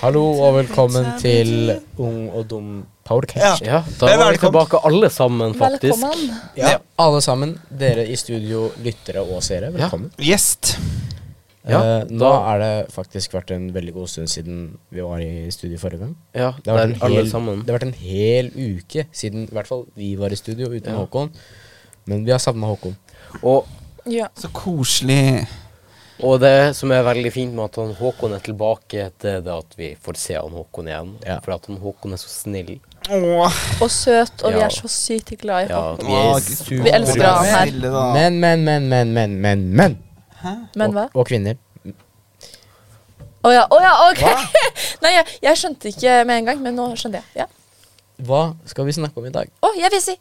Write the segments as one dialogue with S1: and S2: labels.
S1: Hallo og velkommen til Ung og dum Powercatch.
S2: Ja, da var vi
S3: Velkommen.
S2: tilbake alle sammen, faktisk.
S4: Velkommen.
S1: Ja. alle sammen, dere i studio, lyttere og seere, velkommen.
S3: Gjest.
S2: Ja,
S1: Eh, nå
S2: da-
S1: er det faktisk vært en veldig god stund siden vi var i studio forrige gang.
S2: Ja,
S1: Det har, vært
S2: der
S1: en
S2: alle
S1: hel,
S2: sammen.
S1: det har vært en hel uke siden i hvert fall vi var i studio uten
S2: Ja.
S1: Håkon. Men vi har savna Håkon.
S2: Og,
S4: Ja.
S3: Så koselig.
S2: og det som er veldig fint med at han Håkon er tilbake, det er det at vi får se han Håkon igjen.
S1: Ja.
S2: For at han Håkon er så snill.
S3: Åh,
S4: Og søt, og vi
S2: Ja.
S4: er så sykt glad i
S2: Ja,
S4: ham.
S2: vi er
S3: Åh,
S2: super-
S4: Vi elsker han her.
S3: Stille, da.
S1: Men, men, men, men, men, men. men.
S4: Men hva?
S1: Og, og kvinner.
S4: Å ja, å ja, ok! Nei, jeg, jeg skjønte ikke med en gang, men nå skjønte jeg. Ja.
S1: Hva skal vi snakke om i dag?
S4: Å, jeg vil si!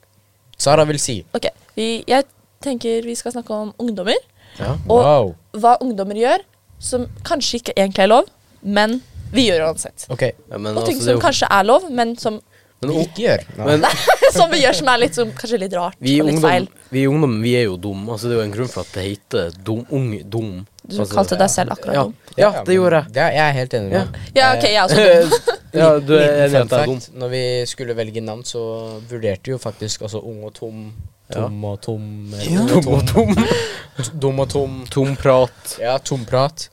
S1: Sara vil si.
S4: Ok, vi, jeg tenker vi skal snakke om ungdommer.
S2: Ja.
S4: Og
S1: Wow.
S4: hva ungdommer gjør, som kanskje ikke egentlig er lov, men vi gjør uansett.
S1: Ok,
S2: Ja, men
S4: Og ting
S2: altså, det er
S4: som
S2: jo-
S4: kanskje er lov, men som,
S2: men ung-
S1: ikke gjør.
S2: Men
S4: som vi gjør som er litt, som, kanskje litt rart
S2: vi
S4: og litt
S2: ungdom,
S4: feil.
S2: vi ungdom, vi er jo dumme. Altså, det er jo en grunn for at det heter dum, ung dum.
S4: Du
S2: altså,
S4: kalte deg selv akkurat
S2: ja,
S4: dum.
S2: ja, det gjorde jeg.
S1: Det er, jeg er helt enig med
S2: Ja.
S1: deg.
S4: Ja, ok, jeg er også dum.
S2: ja, du er
S1: Liten
S2: enig i at jeg er
S1: fun
S2: dum.
S1: fact, Når vi skulle velge navn, så vurderte jo faktisk altså Ung og Tom. Tom og Tom. eller
S3: Ja.
S1: Tom og Tom. Dum og Tom.
S2: Tom prat.
S1: Ja, tomprat.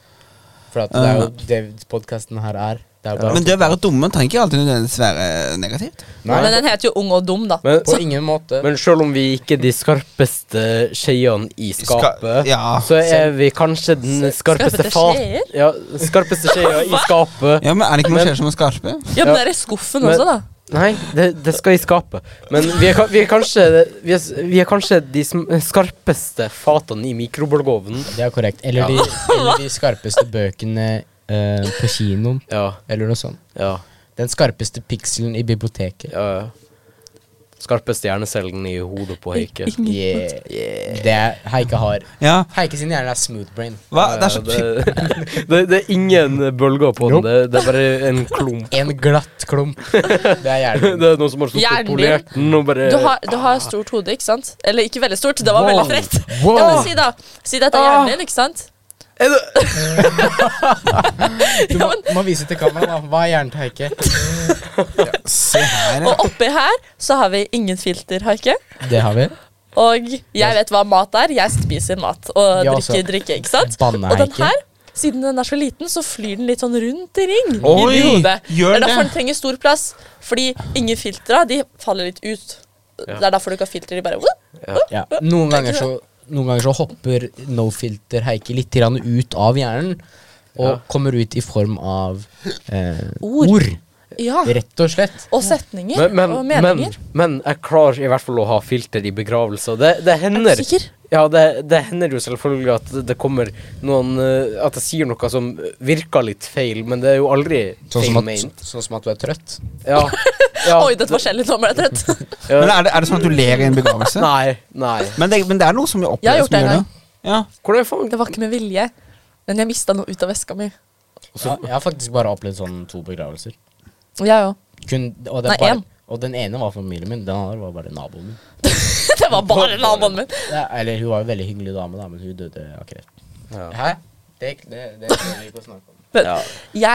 S1: For at det er jo det podkasten her er. Det er bare
S3: Eh. Men det å være dumme trenger ikke alltid nødvendigvis være negativt.
S1: Nei,
S4: Men den heter jo Ung og dum, da.
S2: Men,
S1: på ingen måte.
S2: men selv om vi ikke er de skarpeste skeiene i skapet,
S3: Ja.
S2: så er vi kanskje den skarpeste
S4: Skarpeste skeier?
S2: fat... Ja, skarpeste skeia i skapet.
S3: Ja, men Er det ikke noen
S2: Men-
S3: skjer som er skarpe?
S4: Ja,
S2: Ja.
S4: men den er i skuffen
S2: Men-
S4: også, da.
S2: Nei, det, det skal i skapet. Men vi er, ka- vi er kanskje vi er, s- vi er kanskje de sm- skarpeste fatene i mikrobølgeovnen.
S1: Det er korrekt. Eller,
S2: Ja.
S1: de, eller de skarpeste bøkene eh, på kinoen,
S2: Ja,
S1: eller noe sånt.
S2: ja,
S1: Den skarpeste pikselen i biblioteket.
S2: ja. ja. Skarpeste hjernecellen i hodet på Heike.
S1: Yeah. Det er Heike har.
S3: Ja.
S1: Heike sin hjerne er smooth brain.
S3: Hva? Det er så typ
S2: det, det, det er ingen bølger på
S1: Jo.
S2: den. Det, det er bare en klump.
S1: En glatt klump. Det er hjernen.
S2: Det er noen som har stått og
S4: Hjernen din.
S2: polert den og bare
S4: Du har, du har stort hode, ikke sant? Eller ikke veldig stort, det var
S2: Wow.
S4: veldig frekt.
S1: Wow.
S4: Ja, men si da Si dette er hjernen din, ikke sant?
S2: Er det-
S1: Du må,
S4: Ja, men,
S1: må vise til kamera, da. Hva er hjernen til Heike?
S3: Se her, ja.
S4: og oppi her så har vi ingen filter, har ikke?
S1: Det har vi.
S4: Og jeg vet hva mat er. Jeg spiser mat og
S1: Ja, altså,
S4: drikker drikke, ikke sant?
S1: banne
S4: Og den
S1: Heike.
S4: her, siden den er så liten, så flyr den litt sånn rundt i ring.
S3: Oi,
S4: i hodet.
S3: gjør
S4: det er derfor
S3: det?
S4: den trenger stor plass. Fordi ingen filtre, de faller litt ut.
S2: Ja.
S4: Det er derfor du ikke har filter. De bare «Wup!»
S1: Ja. Noen, ganger så, noen ganger så hopper no filter Heike litt grann ut av hjernen. Og
S2: Ja.
S1: kommer ut i form av eh,
S4: Ord.
S1: ord.
S4: Ja.
S1: Rett og slett.
S4: Og setninger
S2: Men, men,
S4: og
S2: men,
S4: meninger.
S2: men jeg klarer i hvert fall å ha filter i begravelser. Det, det
S4: Er
S2: hender
S4: du sikker?
S2: Ja, det, det hender jo selvfølgelig at det kommer noen eh, At jeg sier noe som virker litt feil, men det er jo aldri
S1: Sånn som,
S2: feil
S1: at,
S2: meint.
S1: sånn som at du er trøtt.
S2: Ja, ja,
S4: Oi, dette var kjedelig. Nå ble jeg trøtt.
S2: ja.
S3: Men er det, er det sånn at du ler i en begravelse?
S2: Nei, nei.
S3: Men det, men det er noe som jeg opplever
S4: Jeg har gjort
S3: som
S4: det en
S3: gjør
S4: gang.
S3: Ja.
S2: Hvordan faen
S4: Det var ikke med vilje, men jeg mista noe ut av veska mi.
S1: Ja, jeg har faktisk bare opplevd sånn to begravelser.
S4: Jeg òg.
S1: Kun, og, den
S4: Nei,
S1: bare,
S4: en.
S1: og den ene var familien min, den andre var bare naboen min.
S4: Det var bare naboen min.
S1: Det, eller hun var en veldig hyggelig dame, da, men hun døde av kreft.
S2: Ja.
S1: Hæ? Det, det, det trenger vi ikke å snakke om.
S4: Men
S2: Ja.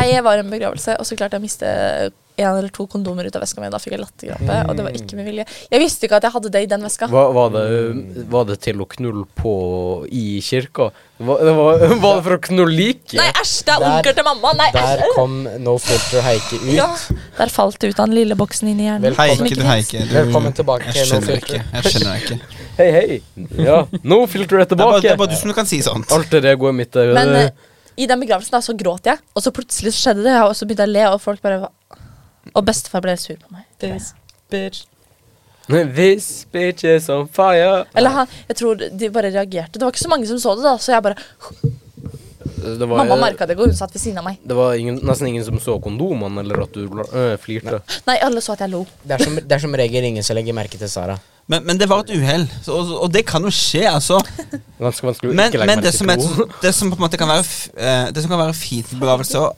S4: jeg var i en begravelse, og så klarte jeg å miste en eller to kondomer ut av veska mi. Da fikk jeg latterkrampe, og det var ikke med vilje. Jeg visste ikke at jeg hadde det i den veska.
S2: Var, var, det, var det til å knulle på i kirka? Var det, var, var det for å knulle
S4: Nei,
S2: liket?
S4: æsj! Det er
S1: Der-
S4: onkelen til mamma! Nei,
S1: Der
S4: æsj!
S1: kom No Filter Heike ut.
S4: Ja, der falt det ut av den lille boksen inn i hjernen. Som
S3: Heike,
S4: ikke
S3: du
S4: finnes.
S3: Heike. Du,
S1: Velkommen tilbake
S3: Jeg
S1: til No
S3: skjønner det ikke.
S1: Filter.
S3: Jeg skjønner det ikke.
S2: Hei, hei. Ja, no filter er
S3: Det er, bare, det
S2: tilbake.
S3: er bare du som kan si sånt.
S2: Alter egoet mitt er
S4: Men eh, i den begravelsen da, så gråt jeg, og så plutselig så skjedde det, og så begynte jeg å le, og folk bare var Og bestefar ble sur på meg.
S2: This bitch is on fire.
S4: Eller han, jeg tror de bare reagerte. Det var ikke så mange som så det, da, så jeg bare
S2: Det var,
S4: Mamma merka det, og hun satt ved siden av meg.
S2: Det var ingen, nesten ingen som så kondomene, eller at du øh, flirte.
S4: Nei, alle så at jeg lo.
S1: Det er, som, det er som regel ingen som legger merke til Sara.
S3: Men, men det var et uhell, Så- og, og det kan jo skje, altså.
S2: Ganske vanskelig å
S3: Men,
S2: ikke legge
S3: men
S2: merke
S3: det, som er,
S2: til
S3: det som på en måte kan være f- eh, Det som kan være fint med begravelser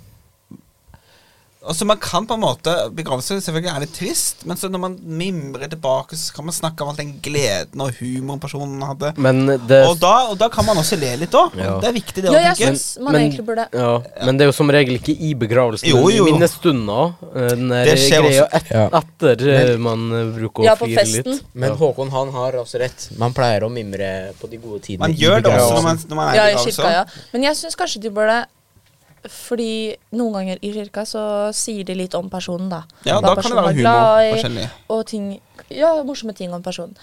S3: Altså Man kan på en måte Begravelse selvfølgelig er litt trist, men så når man mimrer tilbake, så kan man snakke om all den gleden og humoren personen hadde.
S2: Men det
S3: Og da, og da kan man også le litt òg.
S2: Ja.
S3: Det er viktig, det
S4: Ja,
S3: å
S4: jeg
S3: tenke.
S4: syns man egentlig burde
S2: ja, Men det er jo som regel ikke i begravelsen,
S3: Jo,
S2: men i
S3: jo, jo.
S2: minnestunder. eh, Den der
S3: Det skjer
S2: greia
S3: også.
S2: et,
S1: Ja.
S2: etter eh, man eh, bruker
S4: Ja,
S2: å
S4: på
S2: flire
S4: festen.
S2: litt.
S1: Men
S2: Ja.
S1: Håkon han har også rett. Man pleier å mimre på de gode tidene.
S3: Man
S1: i
S3: gjør det også
S1: begravelsen.
S3: når man, når man er
S4: Ja,
S3: i
S4: i kirka,
S3: begravelse.
S4: ja. Men jeg syns kanskje de burde Fordi noen ganger i kirka så sier de litt om personen, da.
S3: Ja,
S4: Hva
S3: da kan det
S4: personen
S3: være
S4: var
S3: humor
S4: glad i,
S3: forskjellig.
S4: Og ting Ja, morsomme ting om personen.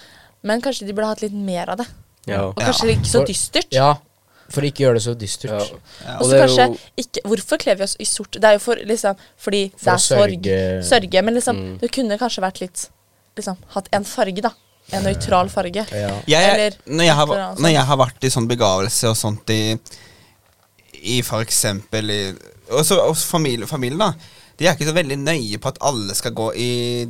S4: Men kanskje de burde hatt litt mer av det.
S2: Ja.
S4: Og kanskje ikke så
S1: For-
S4: dystert.
S1: Ja, for ikke gjøre det så dystert.
S2: Ja.
S3: Ja.
S2: Og
S4: Og så
S2: det er
S4: kanskje
S2: jo-
S4: ikke Hvorfor kler vi oss i sort? Det er jo for, liksom, fordi det
S1: å
S4: er sorg.
S1: sørge-
S4: Sørge. Men liksom, det kunne kanskje vært litt liksom, Hatt en farge, da. En nøytral farge.
S1: Ja.
S3: Jeg,
S4: Eller
S3: når, jeg har,
S4: et eller annet
S3: når
S4: sånt.
S3: jeg har vært i sånn begravelse og sånt i, i for eksempel i, også, også familie, familien da De er ikke så veldig nøye på at alle skal gå i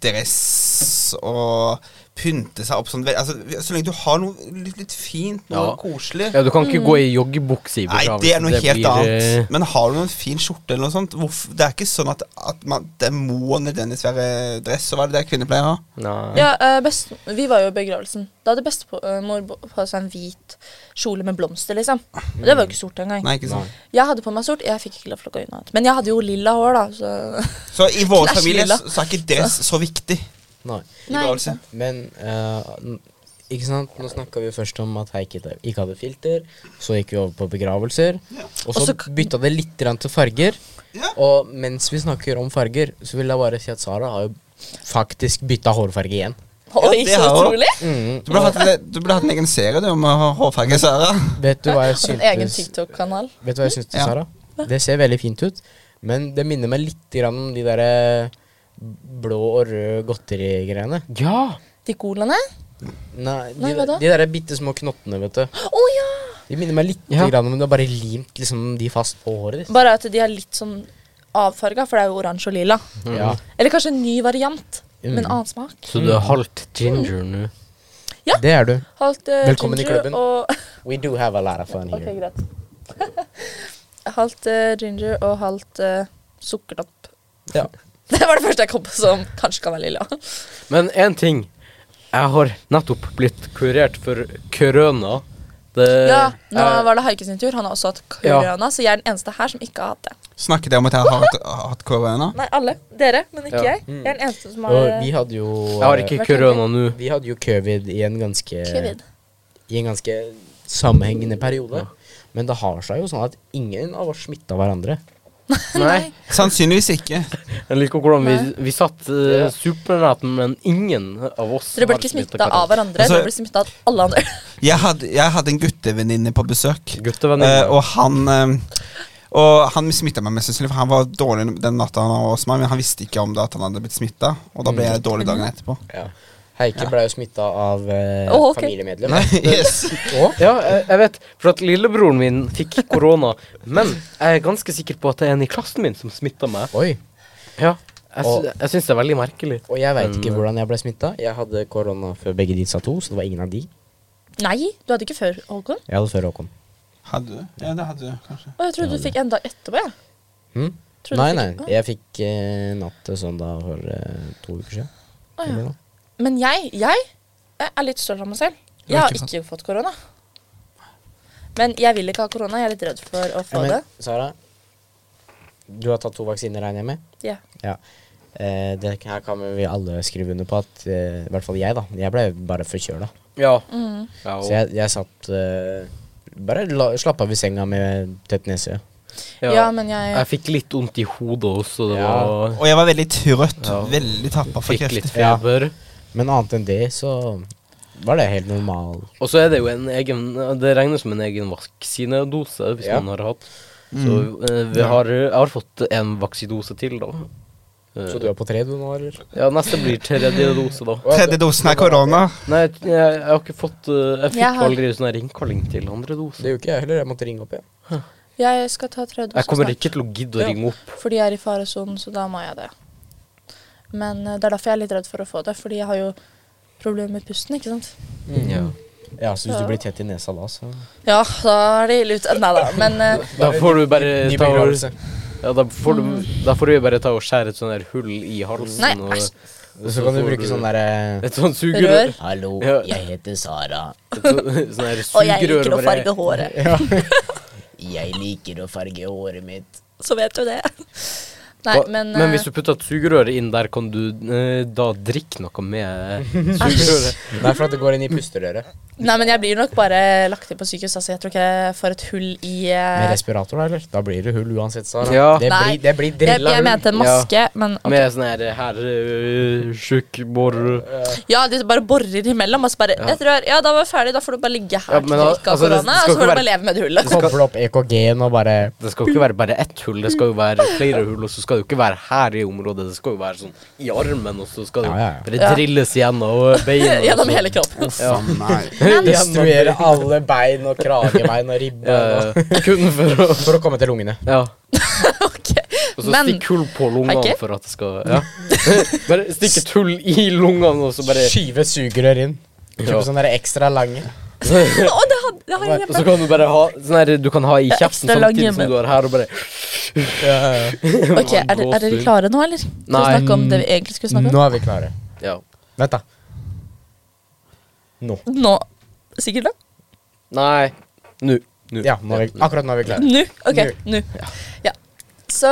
S3: dress og pynte seg opp sånn ve- altså, Så lenge du har noe litt, litt fint, noe
S2: Ja.
S3: koselig
S2: ja, du kan
S4: Mm.
S2: ikke gå i joggebukse i
S3: Nei,
S2: begravelsen.
S3: det er noe helt
S2: blir, eh,
S3: annet. Men har du en fin skjorte eller noe sånt hvorf- Det er ikke sånn at, at man, det må nødvendigvis være dress. Og hva er det det kvinner pleier å ha?
S2: Nei.
S4: Ja, eh, best, vi var jo i begravelsen. Da hadde bestemor bo- på seg en hvit kjole med blomster, liksom. Og det var jo ikke sort engang.
S3: Nei, ikke sant?
S4: Jeg hadde på meg sort. Jeg fikk ikke lov til å gå inn og annet. Men jeg hadde jo lilla hår, da. Så.
S3: Så i vår
S4: Clash
S3: familie
S4: lilla.
S3: så, så er ikke dress så viktig.
S1: Nei.
S3: i
S4: Nei, ikke
S3: begravelse.
S4: sant.
S1: Men eh, n- ikke sant, nå snakka vi først om at Heikki da- ikke hadde filter. Så gikk vi over på begravelser. Og så
S4: Og så k-
S1: bytta det litt grann til farger.
S3: Ja.
S1: Og mens vi snakker om farger, så vil jeg bare si at Sara har jo faktisk bytta hårfarge igjen.
S4: Oi,
S3: det
S4: så
S3: har jeg også.
S4: utrolig!
S1: Mm.
S3: Du burde hatt, du burde hatt en egen serie du, om å ha hårfarge, Sara.
S1: Vet du hva jeg
S4: En egen
S1: syntes,
S4: TikTok-kanal.
S1: vet du hva jeg syntes til
S3: Ja.
S1: Sara? Det ser veldig fint ut, men det minner meg litt grann om de derre blå og røde godterigreiene.
S2: Ja!
S4: De golene.
S1: Nei, de,
S4: Nei, hva da?
S1: de derre bitte små knottene, vet du.
S4: Å ja!
S1: De minner meg litt
S2: Ja.
S1: grann om det er bare limt liksom, de fast på håret ditt.
S4: Bare at de er litt sånn avfarga, for det er jo oransje og lilla.
S1: Ja.
S4: Eller kanskje en ny variant, med
S1: Mm.
S4: en annen smak.
S2: Så du er halvt ginger
S4: Mm.
S2: nå.
S4: Ja.
S1: Det er du.
S4: Halvt eh,
S1: Velkommen i
S4: ginger
S1: klubben.
S4: og
S1: We do have a lot of fun
S4: Ok,
S1: here.
S4: greit. halvt eh, ginger og halvt eh, sukkertopp.
S1: Ja.
S4: Det var det første jeg kom på som kanskje kan være lilla.
S2: Men én ting. Jeg har nettopp blitt kurert for korona. Det
S4: Ja, nå
S2: jeg-
S4: var det Haike sin tur. Han har også hatt
S2: Eh, Ja.
S4: korona, så jeg er den eneste her som ikke har hatt det.
S3: Snakket jeg om at jeg har hatt, har hatt korona?
S4: Nei, alle. Dere, men
S2: Ja.
S4: ikke jeg. Jeg er den eneste som har eh,
S1: Og vi hadde jo eh,
S2: Jeg har ikke
S4: Vært
S2: korona nå.
S1: Vi hadde jo covid i en ganske
S4: covid.
S1: I en ganske sammenhengende periode. Men det har seg jo sånn at ingen av oss smitta hverandre.
S2: Nei.
S3: Sannsynligvis ikke.
S2: Jeg liker hvordan vi, vi satt
S1: Ja.
S2: uh, supernetten, men ingen av oss
S4: Dere ble
S2: har
S4: ikke
S2: smittet
S4: smitta
S2: katter.
S4: av hverandre,
S3: Altså-
S4: dere ble smitta av alle andre.
S3: Jeg hadde, jeg hadde en guttevenninne på besøk,
S2: Guttevenninne.
S3: eh, og han eh, og han smitta meg mest sannsynlig, for han var dårlig den natta han var hos meg, men han visste ikke om det at han hadde blitt smitta, og da ble
S2: Mm.
S3: jeg dårlig dagen
S4: Mm.
S3: etterpå.
S1: Heike ble jo smitta av eh,
S4: Å, ok.
S1: familiemedlemmer.
S3: Yes.
S1: Og
S2: Ja, jeg, jeg vet, for at lillebroren min fikk korona. Men jeg er ganske sikker på at det er en i klassen min som smitta meg.
S1: Oi.
S2: Ja, jeg,
S1: Og-
S2: sy- jeg syns det er veldig merkelig.
S1: Og jeg veit
S2: Men,
S1: ikke
S2: eh,
S1: hvordan jeg ble smitta. Jeg hadde korona før begge de sa to, så det var ingen av de.
S4: Nei, du hadde ikke før, Håkon.
S1: Jeg hadde før Håkon.
S3: Hadde du? Ja, det hadde du kanskje.
S4: Og jeg trodde du fikk en dag etterpå, jeg.
S1: Hm?
S4: Tror du
S1: Nei,
S4: fikk-
S1: nei.
S4: Å.
S1: Jeg fikk eh, natt til søndag for eh, to uker siden.
S4: Å, ja.
S1: Eller noe.
S4: Men jeg, jeg er litt stolt av meg selv. Jeg har
S3: ikke sant.
S4: ikke fått korona. Men jeg vil ikke ha korona. Jeg er litt redd for å
S1: Ja,
S4: få det.
S1: men Sara, du har tatt to vaksiner, regner jeg med?
S4: Ja.
S1: Ja. Eh, det her kan vi alle skrive under på at eh, I hvert fall jeg, da. Jeg ble bare forkjøla.
S2: Ja.
S4: Mm.
S2: ja og,
S1: Så jeg, jeg satt eh, Bare la, slapp av i senga med tett nese.
S4: Ja.
S2: ja,
S4: men jeg
S2: Jeg fikk litt vondt i hodet også. Det
S1: Ja.
S2: var
S3: Og jeg var veldig trøtt.
S2: Ja.
S3: Veldig tappa for
S2: Fikk litt
S3: krefter.
S1: Ja.
S2: feber.
S1: Men annet enn det, så var det helt normal.
S2: Og så er det jo en egen Det regnes som en egen vaksinedose hvis
S1: Ja.
S2: man har hatt. Så
S4: Mm.
S2: eh, vi har, jeg har fått en vaksidose til, da. Eh,
S1: Så du er på tre du nå, eller?
S2: Ja, neste blir tredje dose, da.
S3: Tredje dosen er korona.
S2: Nei, jeg, jeg har ikke fått eh, Jeg fikk
S4: Jeg har-
S2: aldri sånn her innkalling til andre
S1: Det
S2: dose.
S1: gjorde ikke jeg heller. Jeg måtte ringe opp, jeg.
S4: Jeg skal ta tredje
S2: Jeg kommer
S4: dose
S2: ikke til å gidde å
S1: Ja.
S2: ringe opp.
S4: snart, fordi jeg er i faresonen, så da må jeg det. Men eh, det er derfor jeg er litt redd for å få det, fordi jeg har jo problemer med pusten, ikke sant.
S2: Mm. Ja.
S1: Ja, så hvis du blir tett i nesa da, så
S4: Ja, da er det ille ute. Nei da, men eh,
S2: Da får du bare
S1: Ny
S2: ta og
S1: begravelse.
S2: ja, da, får du, da får du jo bare ta og skjære et sånn der hull i halsen.
S4: Mm. Nei,
S2: og,
S4: æsj.
S1: Så kan du
S2: får
S1: bruke sånn derre
S2: Et sånt
S4: Rør.
S2: sugerør.
S1: Hallo,
S2: Ja.
S1: jeg heter Sara.
S2: Et sånt- sånn der
S4: Og jeg
S2: sugerør
S4: liker å
S2: bare-
S4: farge håret.
S1: Jeg liker å farge håret mitt.
S4: Så vet du det. Nei,
S2: Hva-
S4: men,
S2: men
S4: eh,
S2: hvis du putter et sugerør inn der, kan du eh, da drikke noe med eh, sugerøret?
S1: Nei, for at det går inn i pusterøret.
S4: nei, men jeg blir nok bare lagt inn på sykehus. Altså, jeg tror ikke jeg får et hull i eh,
S1: Med respirator, da, eller? Da blir det hull uansett, Sara.
S2: Ja.
S1: Det,
S4: Nei,
S1: blir, det blir
S4: jeg,
S1: drilla
S4: jeg
S1: hull.
S4: mente en maske, men ok.
S2: Med sånn her eh, herresjukkbor...
S4: Ja, de bare borer imellom. Og så bare,
S2: Ja.
S4: et rør, ja, da var vi ferdig, da får du bare ligge her
S2: Ja,
S4: til
S2: men
S4: du
S2: da-
S4: ikke har
S2: altså, det-
S4: korona,
S2: det skal
S4: og så
S2: ikke
S4: får du
S2: være-
S4: bare leve med det hullet.
S1: Koble opp E EKG-en og bare
S2: det skal jo ikke være bare ett hull, det skal jo være flere hull, og så skal det jo ikke være her i området, det skal jo være sånn i armen, og så skal det
S1: Ja, ja, ja.
S2: bare
S4: Ja.
S2: drilles gjennom beina. og
S4: Gjennom
S2: sånn.
S4: hele kroppen.
S3: Uff a meg.
S1: destruere alle bein og kragebein og ribbe.
S2: Ja,
S1: og-
S2: ja. kun for å
S1: For å komme til lungene.
S2: Ja.
S4: Ok.
S2: Og så
S4: Men-
S2: stikk hull på lungene
S4: Ok.
S2: for at det skal Ja. Bare stikk et hull i lungene, og så bare
S1: Skyve sugerør inn.
S2: Ja.
S1: Kjøpe sånne der ekstra lange.
S4: Å, det har, det har jeg
S2: Og så
S4: hjemme.
S2: kan du bare ha sånn her Du kan ha i
S4: Ja,
S2: kjeften
S4: ekstra lang
S2: samtidig som
S4: hjemme.
S2: du har her, og bare
S1: Ja, ja, ja.
S4: Ok, er, dere- er dere klare nå, eller? Til å
S2: Nei.
S4: snakke om det vi egentlig skulle snakke om?
S1: Nå er vi klare.
S2: Ja.
S1: Vent, da. Nå.
S4: Nå. Sikkert da?
S2: Nei. Nå. Nå.
S1: Ja, nå er vi, akkurat nå er vi klare.
S4: Nå. Ok, nå. Ja. Så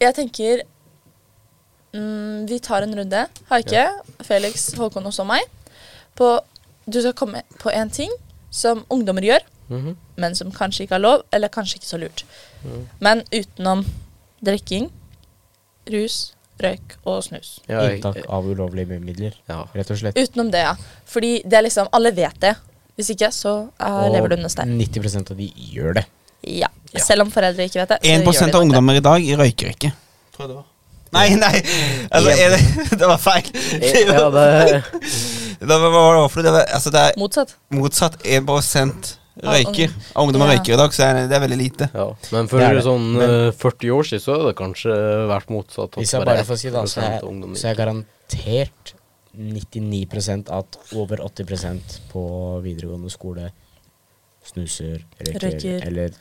S4: jeg tenker mm, Vi tar en runde. Haike, Felix, Håkon og så meg. På, du skal komme på en ting som ungdommer gjør,
S2: Mhm.
S4: men som kanskje ikke er lov, eller kanskje ikke så lurt. Men utenom drikking, rus, røyk og snus.
S2: Ja, jeg-
S1: Inntak av ulovlige midler,
S2: Ja.
S1: rett og slett.
S4: Utenom det, ja. Fordi det er liksom Alle vet det. Hvis ikke, så eh, lever du under stein.
S1: 90 av de gjør det.
S4: Ja. Selv om foreldre ikke vet det. så gjør
S3: 1
S4: de det.
S3: av ungdommer i dag røyker ikke. Tror jeg det var. Nei, nei! Altså, er det, det var feil. Det
S2: Ja,
S3: var,
S2: det
S3: det var, hva var det for noe? Det var, altså, det er
S4: Motsatt.
S3: motsatt. 1 røyker.
S4: ung-
S3: Av ungdommer
S4: Ja.
S3: røyker i dag, så er det, det er veldig lite.
S2: Ja, men for
S1: Det er det.
S2: sånn
S1: Men-
S2: eh, 40 år siden så hadde det kanskje vært motsatt. at
S1: Hvis jeg bare får si det,
S2: 1%
S1: så er,
S2: av ungdommen-
S1: så er garantert 99 at over 80 på videregående skole snuser, røyker,
S4: Røyker.
S1: eller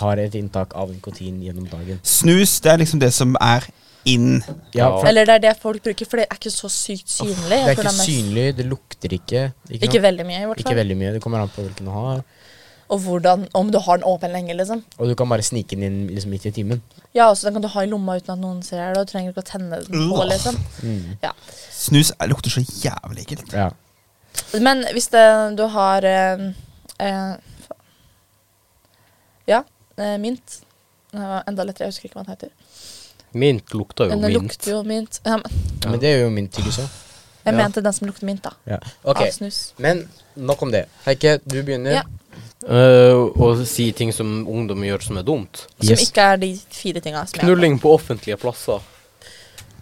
S1: har et inntak av nikotin gjennom dagen.
S3: Snus, det er liksom det som er in.
S1: Ja,
S2: Ja.
S1: for
S4: Eller det er det folk bruker, for det er ikke så sykt synlig.
S1: det
S4: Jeg
S1: er
S4: tror
S1: ikke
S4: mest-
S1: synlig, det lukter ikke. Ikke,
S4: Ikke
S1: sant?
S4: veldig mye, i hvert
S1: ikke
S4: fall.
S1: veldig mye. Det kommer an på hvilken du har.
S4: Og hvordan, om du har den åpen lenge, liksom.
S1: Og du kan bare snike den inn liksom, midt i timen.
S4: Ja, og så den kan du ha i lomma uten at noen ser det, og du trenger ikke å tenne den på,
S3: Åh.
S4: liksom.
S1: Mm.
S4: Ja.
S3: Snus er- lukter så jævlig ekkelt.
S1: Ja.
S4: Men hvis det, du har eh, eh, fa- Ja, eh, mynt. Det var enda lettere, jeg husker ikke hva den heter.
S2: Mint lukta jo
S4: Den
S2: mint.
S4: lukter jo mynt. Ja, men
S1: Men det er jo min tyggis òg.
S2: Ja.
S4: jeg mente den som lukter mynt, da.
S1: Ja. Ok,
S4: Av snus.
S1: men nok om det. Heike, du begynner.
S4: Ja.
S2: Eh, og si ting som ungdom gjør som er dumt.
S4: Som
S1: Yes.
S4: ikke er de fire tinga. som jeg-
S2: Knulling på offentlige plasser.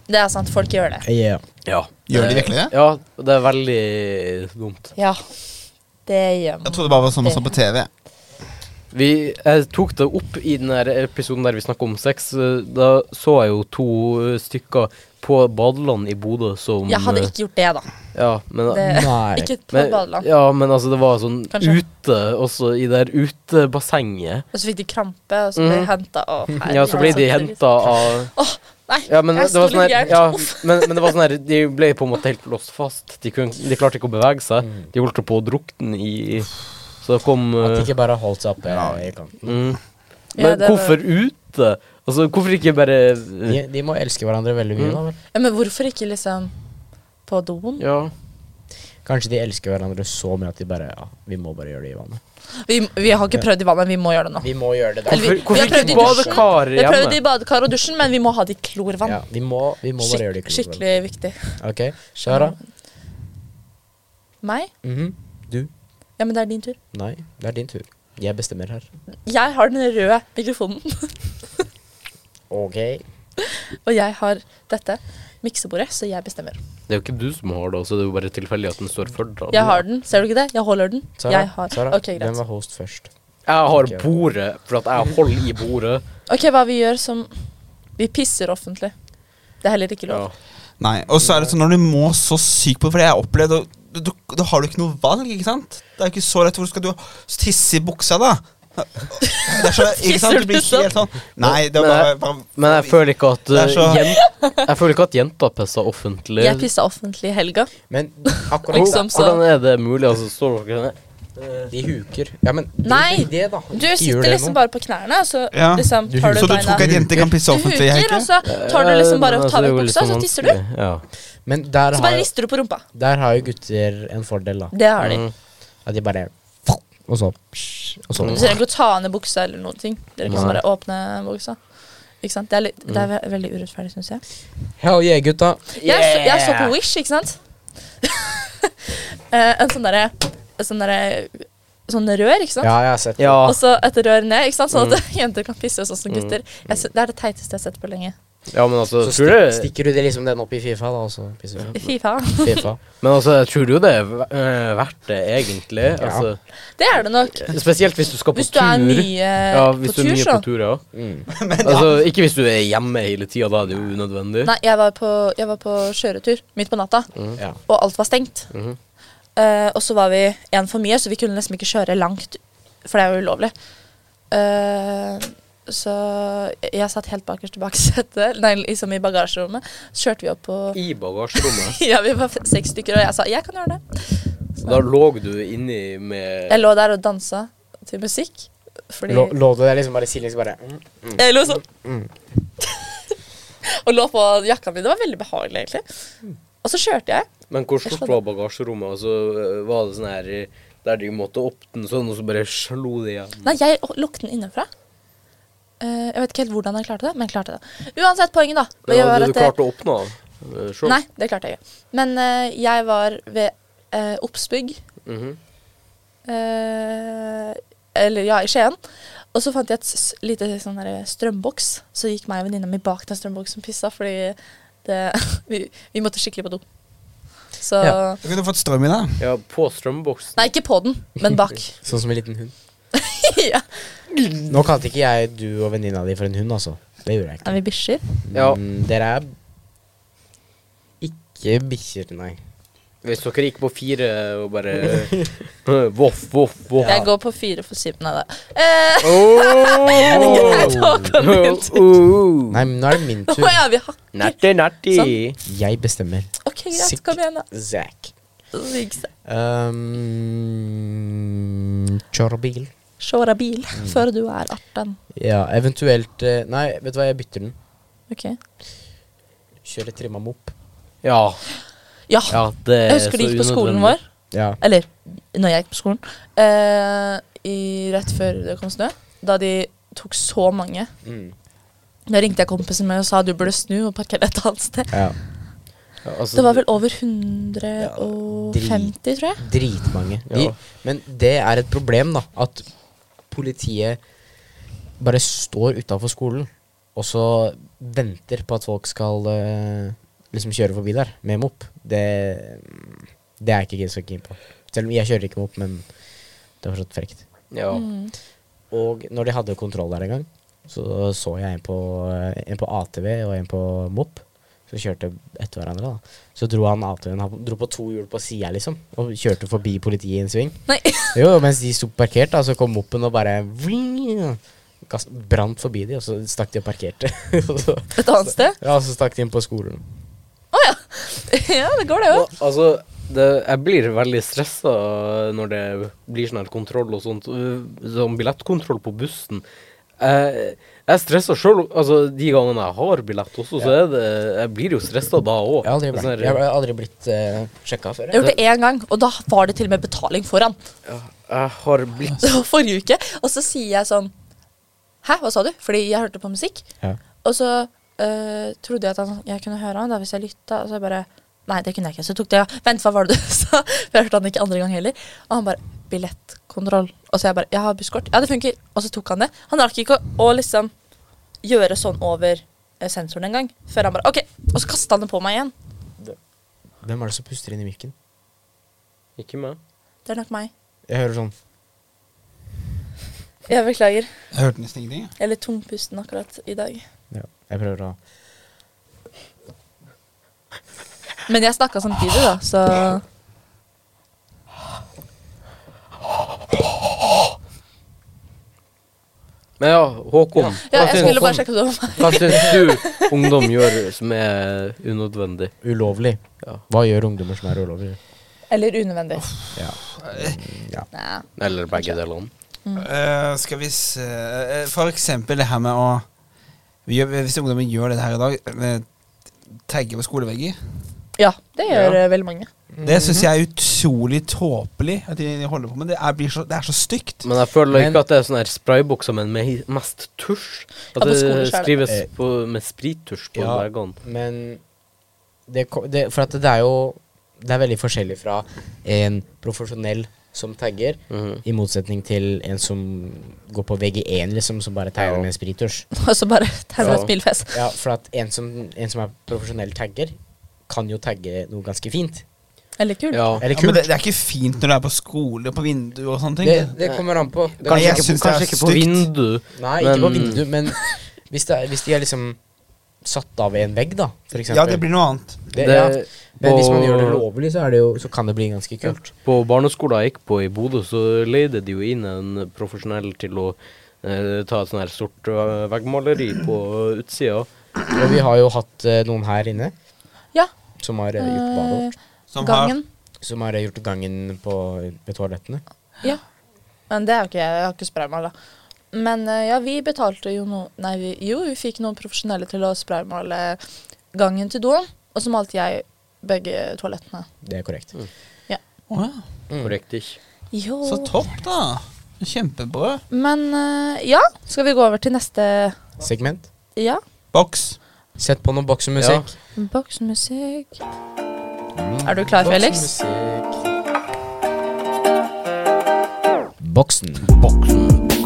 S4: Det er sant, folk gjør det.
S1: Eh, Yeah.
S2: Ja.
S3: Gjør de virkelig det?
S2: Ja, det er veldig dumt.
S4: Ja, det gjør
S3: Jeg
S4: man.
S3: trodde det bare var sånn man så på TV.
S2: Vi, jeg tok det opp i den der episoden der vi snakka om sex. eh, Da så jeg jo to eh, stykker på badeland i Bodø som
S4: Jeg hadde ikke gjort det, da.
S2: eh, Ja, men
S4: Det,
S1: Nei.
S4: ikke på
S2: Men-
S4: badeland.
S2: Ja, men altså, det var sånn
S4: Kanskje.
S2: ute, også i det der utebassenget.
S4: Og så fikk de krampe, og så ble de
S2: Mhm.
S4: henta. Å, herregud.
S2: Ja, så ble de henta av
S4: liksom. Nei,
S2: Ja, men det
S4: jeg
S2: var
S4: sto
S2: sånn
S4: litt
S2: her,
S4: gærent.
S2: ja, men, men det var sånn her De ble på en måte helt låst fast. De, kunne, de klarte ikke å bevege seg. De holdt på å drukne i Så det kom
S1: At de
S2: eh,
S1: ikke bare holdt seg oppe i kanten.
S2: mm.
S4: Ja,
S2: Men
S4: det var-
S2: hvorfor ute? Altså, hvorfor ikke bare eh,
S1: De, de må elske hverandre veldig mye.
S2: Mm.
S1: da vel?
S4: Ja, men hvorfor ikke liksom på doen?
S2: Ja.
S1: Kanskje de elsker hverandre så mye at de bare ja, vi må bare gjøre det i vannet.
S4: Vi, vi har ikke prøvd i vannet, vi må gjøre det nå.
S1: Vi må gjøre det der.
S4: Eller
S2: Hvorfor,
S4: vi- vi
S2: hvorfor
S4: har
S2: ikke
S4: prøvd i dusjen.
S2: badekar
S4: Vi har prøvd i
S2: hjemme?
S4: badekar og dusjen, men vi må ha det i klorvann.
S1: Ja, vi må, vi må bare gjøre det i
S4: Skikk,
S1: klubben.
S4: skikkelig viktig.
S1: Ok, Sara.
S4: Meg?
S1: Mhm. Du?
S4: Ja, men det er din tur.
S1: Nei, det er din tur. Jeg bestemmer her.
S4: Jeg har den røde mikrofonen,
S1: Ok.
S4: og jeg har dette miksebordet, så jeg bestemmer.
S2: Det er jo ikke du som har det, altså. Det er jo bare tilfeldig at den står for deg.
S4: Jeg har den, ser du ikke det? Jeg holder den.
S1: Sara,
S4: Jeg har.
S1: Sara
S4: Ok,
S1: hvem
S4: greit.
S1: var host først?
S2: Jeg har bordet, for at jeg holder i bordet.
S4: Ok, hva vi gjør som Vi pisser offentlig. Det er heller ikke
S2: Ja.
S4: lov.
S3: Nei, og så er det sånn når du må så sykt på For det har jeg opplevd og du, da har du ikke noe valg, ikke sant? Det er jo ikke så lett. Hvor skal du tisse i buksa, da? Det er så, ikke sant? Du blir ikke helt sånn Nei, det er bare, bare
S2: Men jeg føler ikke at
S3: Det er så-
S2: eh, jen, Jeg føler ikke at jenta pisser offentlig.
S4: Jeg pissa offentlig i helga.
S1: Men akkurat
S4: Liksom.
S2: Hvor- Hvordan er det mulig? Altså, står dere ned?
S1: De huker. Ja, men drit
S4: Nei,
S1: i det, da.
S4: Du
S1: Ikke gjør
S4: sitter
S1: det
S4: liksom
S1: nå.
S4: bare på knærne, og så
S3: Ja.
S4: liksom
S1: Du
S4: tar du
S3: Så du tror
S4: beina
S3: ikke at jenter kan pisse
S4: Du
S3: offentlig?
S4: huker, og
S3: Heike?
S4: så tar du liksom bare
S2: Ja,
S4: og
S2: men altså,
S4: tar vekk
S2: det er
S4: buksa,
S2: jo
S4: og så
S2: liksom
S4: tisser du.
S2: vanskelig. Ja.
S1: Men der
S4: Så
S1: har,
S4: bare
S1: jo,
S4: rister du på rumpa.
S1: der har jo gutter en fordel, da.
S4: Det har de.
S2: Mm.
S1: At de bare Og så Og så
S4: Du trenger ikke å ta ned buksa eller noen ting. Dere kan
S2: Nei.
S4: bare åpne buksa. Ikke sant? Det er, litt, det er ve- veldig urettferdig, syns jeg.
S1: Hell yeah, gutta.
S4: Jeg, så, jeg så på Wish, ikke sant? Eh, en sånn derre Sånn derre Sånn rør, ikke sant?
S1: Ja, jeg har sett
S2: ja.
S4: Og så et rør ned, ikke sant? sånn at jenter kan pisse sånn som gutter. Jeg sy- det er det teiteste jeg har sett på lenge.
S2: ja, men altså,
S1: Så
S2: tror
S1: stik,
S2: du,
S1: stikker du det liksom den opp i Fifa, da, og så pisser du.
S4: Fy faen.
S1: Fifa.
S2: men altså, jeg tror jo det er ver- eh, verdt det, egentlig. Altså,
S4: Det er det nok.
S2: spesielt hvis du skal på
S4: Hvis du
S2: tur.
S4: er mye
S2: ja, hvis
S4: på
S2: du er
S4: tur,
S2: mye
S4: så.
S2: på tur, ja.
S1: Mm.
S2: Altså, ikke hvis du er hjemme hele tida, da er det jo unødvendig.
S4: Nei, jeg var på, jeg var på kjøretur midt på natta,
S1: Ja.
S4: og alt var stengt. Eh, og så var vi én for mye, så vi kunne liksom ikke kjøre langt, for det er jo ulovlig. Eh, så jeg- jeg satt helt bakerst i baksetet, nei, liksom i bagasjerommet. Så kjørte vi opp på
S2: I bagasjerommet.
S4: Ja, vi var seks stykker, og jeg sa 'jeg kan gjøre det'.
S2: Da lå du inni med
S4: Jeg lå der og dansa til musikk. Fordi
S1: Lå, lå du der liksom bare sidelengs bare mm.
S4: Jeg lå sånn. og lå på jakka mi. Det var veldig behagelig, egentlig. Og så kjørte jeg.
S2: Men hvor
S4: Jeg
S2: stort
S4: skjønner.
S2: var bagasjerommet? Altså, øh, var det sånn her øh, der de måtte åpne den sånn, og så bare slo det igjen?
S4: Nei, jeg lukket den innenfra. Eh, jeg vet ikke helt hvordan jeg klarte det, men jeg klarte det. Uansett, poenget, da.
S2: Men
S4: var
S2: hadde
S4: at
S2: du
S4: jeg-
S2: klart å åpne den? øh, Sjøl?
S4: Nei, det klarte jeg ikke. Men eh, jeg var ved eh, Oppsbygg.
S2: Mhm.
S4: eh, eller ja, i Skien. Og så fant jeg et s- lite sånn der strømboks. Så gikk meg og venninna mi bak den strømboksen og pissa, fordi det, vi, vi måtte skikkelig på do. Så
S1: Ja.
S3: Du kunne fått strøm i deg.
S2: Ja, på strømboksen.
S4: Nei, ikke på den, men bak.
S1: Sånn som en liten hund.
S4: ja.
S1: Nå kalte ikke jeg du og venninna di for en hund, altså. Det gjorde jeg ikke.
S4: Er vi bikkjer?
S2: Ja.
S1: Mm, dere er ikke bikkjer, nei.
S2: Hvis dere gikk på fire og bare øh, Voff, voff, voff.
S4: Jeg går på fire for Simen. Nei da. Eh,
S2: Oh! Åh!
S4: greit, da kan vi ut.
S2: Åh!
S1: Nei, men nå er det min
S4: Å
S1: tur.
S4: ja, vi har
S2: Natti, natti.
S4: Sånn.
S1: Jeg bestemmer.
S4: OK, greit.
S1: Sikk-
S4: Kom igjen, da.
S1: Zack.
S4: Riggs.
S1: Ehm, Um, Kjøre bil.
S4: Kjøre bil før du er 18.
S1: Ja, eventuelt eh, Nei, vet du hva, jeg bytter den.
S4: OK?
S1: Kjøre trimma mopp.
S2: Ja.
S4: Ja.
S2: ja, eh, det er
S4: Jeg husker det gikk på skolen vår.
S1: Ja.
S4: Eller når jeg gikk på skolen. Eh, i, rett før det kom snø. Da de tok så mange.
S1: Mm.
S4: Da ringte jeg kompisen min og sa du burde snu og parkere et annet sted.
S1: ja.
S2: Ja, altså,
S4: Det var vel over 150, tror jeg.
S1: Dritmange. De,
S2: Ja.
S1: Men det er et problem, da. At politiet bare står utafor skolen, og så venter på at folk skal eh, liksom kjøre forbi der med mop. Det, det er jeg ikke så keen på. Selv om jeg kjører ikke mop, men det er fortsatt frekt.
S2: Ja.
S1: Og når de hadde kontroll der en gang, så så jeg en på, en på ATV og en på MOP. Som kjørte etter hverandre. da Så dro han ATV-en han dro på to hjul på sida, liksom. Og kjørte forbi politiet i en sving.
S4: Nei.
S1: Jo, og mens de sto parkert, da, så kom MOP-en og bare vring, gass- Brant forbi de, og så stakk de og parkerte. og så,
S4: Et annet sted.
S1: ja, og så stakk de inn på skolen.
S4: Å ja. ja, det går, det
S2: Ja,
S4: òg.
S2: altså, det, jeg blir veldig stressa når det blir sånn her kontroll og sånt. øh, Sånn billettkontroll på bussen. Jeg, jeg stresser sjøl. Altså, de gangene jeg har billett også, så er det Jeg blir jo stressa da òg.
S1: Jeg har aldri vært, jeg har aldri blitt uh, sjekka før.
S4: Jeg
S1: Jeg.
S4: gjorde det én gang, og da var det til og med betaling foran.
S2: jeg har blitt
S4: Det var forrige uke. Og så sier jeg sånn Hæ, hva sa du? Fordi jeg hørte på musikk.
S1: Ja.
S4: Og så eh, trodde jeg at han, jeg kunne høre han da hvis jeg lytta, og så bare Nei, det kunne jeg ikke. Så tok det ja. Vent, hva var det du sa? For jeg hørte han ikke andre gang heller. Og han bare Billettkontroll. Og så jeg bare Jeg har busskort. Ja, det funker. Og så tok han det. Han rakk ikke å, å liksom gjøre sånn over eh, sensoren engang. Før han bare OK. Og så kasta han det på meg igjen.
S1: Hvem er det som puster inn i mikken?
S2: Ikke meg.
S4: Det er nok meg.
S1: Jeg hører sånn
S4: Jeg beklager.
S3: Jeg hørte nesten ingenting. jeg.
S4: Jeg er litt tungpusten akkurat i dag.
S1: ja, Jeg prøver å
S4: Men jeg snakka samtidig, da, så
S2: Men ja, Håkon.
S4: Ja, jeg
S2: syns-
S4: skulle bare sjekke det om meg.
S2: hva syns du ungdom gjør som er unødvendig?
S1: Ulovlig.
S2: Ja.
S1: Hva gjør ungdommer som er ulovlig?
S4: Eller unødvendig.
S1: Ja.
S4: Nei.
S2: Eller begge delene.
S3: Eh, skal vi se eh, For eksempel det her med å vi gjør, Hvis ungdommen gjør det her i dag, med tagge på skolevegger
S4: Ja, det gjør
S2: Ja.
S4: eh, veldig mange.
S3: Det syns jeg er utrolig tåpelig at de holder på med. Det er, blir så, det er så stygt.
S2: Men jeg føler
S1: Men-
S2: ikke at det er sånn her spraybokser, men med mest tusj.
S4: Ja,
S2: At
S4: på
S2: det
S4: skolen så er det-
S2: skrives
S1: Eh.
S2: på, med sprittusj på
S1: Ja.
S2: veggene.
S1: Men det, ko- det, For at det er jo Det er veldig forskjellig fra en profesjonell som tagger,
S2: Mhm.
S1: i motsetning til en som går på VG1, liksom, som bare tagger
S2: Ja.
S1: med en sprittusj.
S4: Og så bare tegner
S2: Ja.
S4: et bilfest.
S1: Ja, for at en som, en som er profesjonell tagger, kan jo tagge noe ganske fint.
S4: Eller kult.
S2: Ja.
S1: Eller
S3: Ja, men
S1: kult.
S3: det, det er ikke fint når du er på skole og på vinduer og sånne ting.
S1: det, det kommer an på. Det
S3: Nei,
S2: Kanskje
S3: jeg
S2: ikke,
S3: syns
S2: på-
S3: det er
S2: kanskje ikke på
S3: stygt.
S2: vindu.
S1: Nei,
S2: Men-
S1: ikke på vindu, men hvis, det er, hvis de er liksom satt av en vegg, da, for eksempel.
S3: ja, det blir noe annet.
S1: Det- ja. Men hvis man
S2: på-
S1: gjør det lovlig, så, er det jo, så kan det bli ganske kult.
S2: På barneskolen jeg gikk på i Bodø, så leide de jo inn en profesjonell til å eh, ta et sånn her stort eh, veggmaleri på utsida.
S1: Og vi har jo hatt eh, noen her inne
S4: Ja.
S1: som har eh, gjort badet.
S4: eh,
S3: Som
S4: gangen.
S1: Som har eh, gjort gangen på, ved toalettene.
S4: Ja. Men det er jo ikke jeg. Jeg har ikke spraymala. Men eh, ja, vi betalte jo noe Nei, vi, jo, vi fikk noen profesjonelle til å spraymale gangen til doen. Og så malte jeg begge toalettene.
S1: Det er korrekt.
S3: Har, Å ja.
S1: Mm.
S2: Riktig.
S4: Jo.
S3: Så topp, da. Kjempebra.
S4: Men eh, ja, skal vi gå over til neste
S1: Segment.
S4: Ja.
S3: Boks.
S1: Sett på noe boksemusikk.
S4: Boksmusikk. Mm. Er du klar, Felix?
S1: Boksen.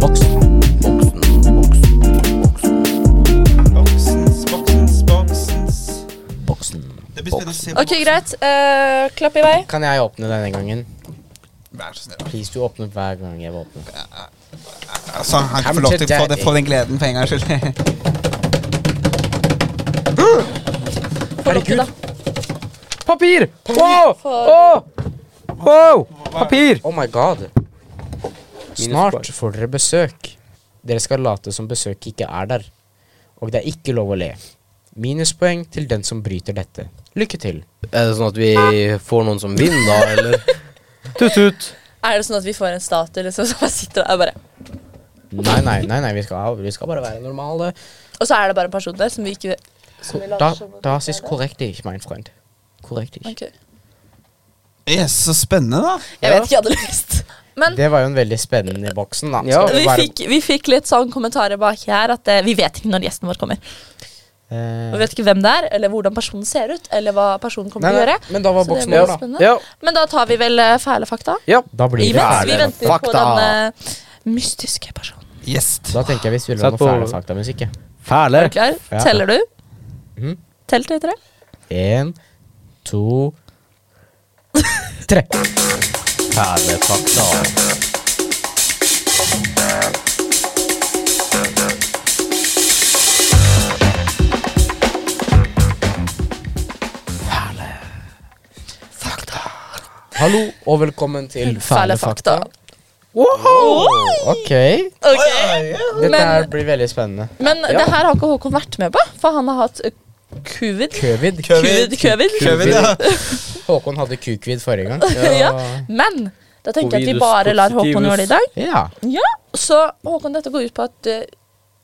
S1: Boksen.
S3: Boksens, boksens, boksens.
S1: Boksen.
S3: Det blir spennende å se. på
S4: OK, greit. Eh, klapp i vei.
S1: Kan jeg åpne denne gangen?
S3: boksen. Vær så snill.
S1: Please, du åpner hver gang jeg vil åpne.
S3: Altså, han kan få lov til å få det- få den gleden for en gangs skyld.
S4: Få lukket, da.
S2: Papir! Wow! Wow! wow! Papir!
S1: Oh my god.
S2: poeng.
S1: Snart får dere besøk. Dere skal late som besøket ikke er der. Og det er ikke lov å le. Minuspoeng til den som bryter dette. Lykke til.
S2: Er det sånn at vi får noen som vinner, da, eller? Tut-tut.
S4: Er det sånn at vi får en statue liksom, som bare sitter der og bare
S1: Nei, nei, nei, nei vi, skal, vi skal bare være normale.
S4: Og så er det bare en person der som vi ikke
S1: Da, das ist korrekt, ich, mein Freund. Korrekt, ich.
S4: Ok.
S3: Yes, så spennende, da.
S4: Jeg vet ikke, jeg hadde lyst. Men
S1: Det var jo en veldig spennende boksen, da.
S2: Ja.
S1: Skal
S4: vi
S1: bare-
S4: fikk, vi fikk litt sånn kommentarer bak her at eh, vi vet ikke når gjesten vår kommer.
S1: Eh,
S4: Vi vet ikke hvem det er, eller hvordan personen ser ut, eller hva personen kommer
S1: nei,
S4: til å gjøre.
S1: nei, men da var
S4: Så det
S1: boksen
S4: blir
S1: vår, da.
S4: spennende.
S2: Ja.
S4: Men da tar vi vel eh, fæle fakta.
S2: Ja.
S1: Da blir det
S4: Imens vi
S1: fæle.
S4: venter på
S2: fakta.
S4: denne mystiske personen.
S3: Yes.
S1: Da tenker jeg vi spiller
S2: Sett
S1: noe
S2: på-
S1: fæle faktamusikk, jeg.
S2: Fæle.
S4: Er du klar?
S1: Ja.
S4: Teller du?
S1: Mhm.
S4: Tell til tre.
S1: En, to Tre.
S2: Fæle fakta.
S1: Hallo og velkommen til Fæle
S4: Fæle fakta.
S1: fakta. Ok.
S4: Ok.
S1: Dette her
S4: Men,
S1: blir veldig spennende.
S4: men det her har ikke Håkon vært med på, for han har hatt eh, covid.
S1: Covid.
S4: Covid, covid.
S3: Køver, ja.
S1: Håkon hadde kukvid forrige gang.
S4: ja. Men da tenker jeg at vi
S2: Covidus
S4: bare lar
S2: positivus.
S4: Håkon gjøre det i dag.
S1: Ja.
S4: Ja, Så Håkon, dette går ut på at eh,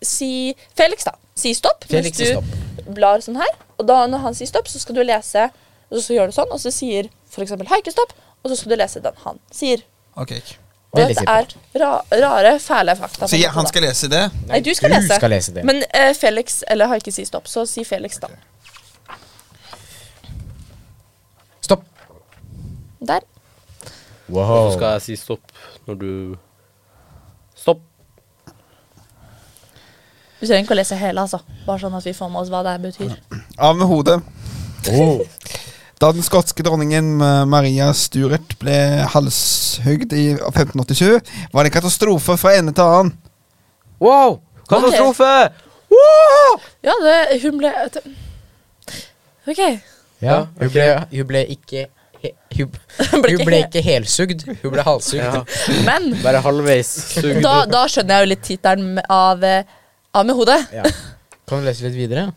S4: si Felix, da. Si stopp.
S1: Felix, si
S4: mens du blar sånn her. Og da når han sier stopp, så skal du lese, og så gjør du sånn, og så sier f.eks. Haike stopp, og så skal du lese den han sier.
S3: Ok.
S4: Og
S1: Veldig
S4: dette er ra rare, fæle fakta.
S3: Så jeg, han skal lese det?
S4: Nei, du
S1: du
S4: skal lese.
S1: skal lese det.
S4: Men eh, Felix eller Haike sier stopp, så si Felix, da.
S1: Stopp.
S4: Der.
S2: Så skal
S1: Wow.
S2: jeg si stopp når du Stopp.
S4: Du trenger ikke å lese hele, altså. Bare sånn at vi får med oss hva det her betyr.
S3: Av med hodet.
S1: Oh.
S3: Da den skotske dronningen eh, Maria Stuart ble halshugd i 1587, var det en katastrofe fra ende til annen.
S2: Wow! Katastrofe! Wow!
S4: Ja, det, hun ble OK.
S1: Ja, hun ble, hun ble ikke he, hun,
S4: Ble
S1: hun
S4: ikke
S1: ble
S4: he-
S1: ikke helsugd, hun ble halshugd.
S2: Ja,
S4: Men
S2: bare halvveis sugd.
S4: da, da skjønner jeg jo litt tittelen med- av, eh, av Med hodet.
S1: Ja. Kan du lese litt videre?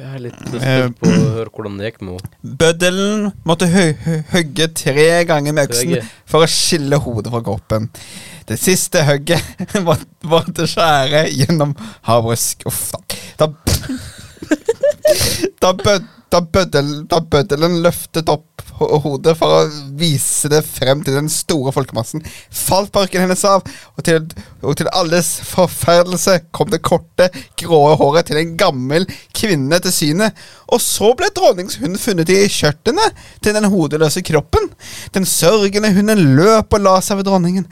S2: Jeg er litt spent på å høre hvordan det gikk med henne.
S3: Bøddelen måtte hø- hø- hogge tre ganger med øksen
S2: Høgge.
S3: for å skille hodet fra kroppen. Det siste hogget må- måtte skjære gjennom havrusk. Uff da. Da, da, bød, da, bøddelen, da bøddelen løftet opp ho- hodet for å vise det frem til den store folkemassen, falt parken hennes av, og til, og til alles forferdelse kom det korte, grå håret til en gammel kvinne til syne. Og så ble dronningshunden funnet i skjørtene til den hodeløse kroppen. Den sørgende hunden løp og la seg ved dronningen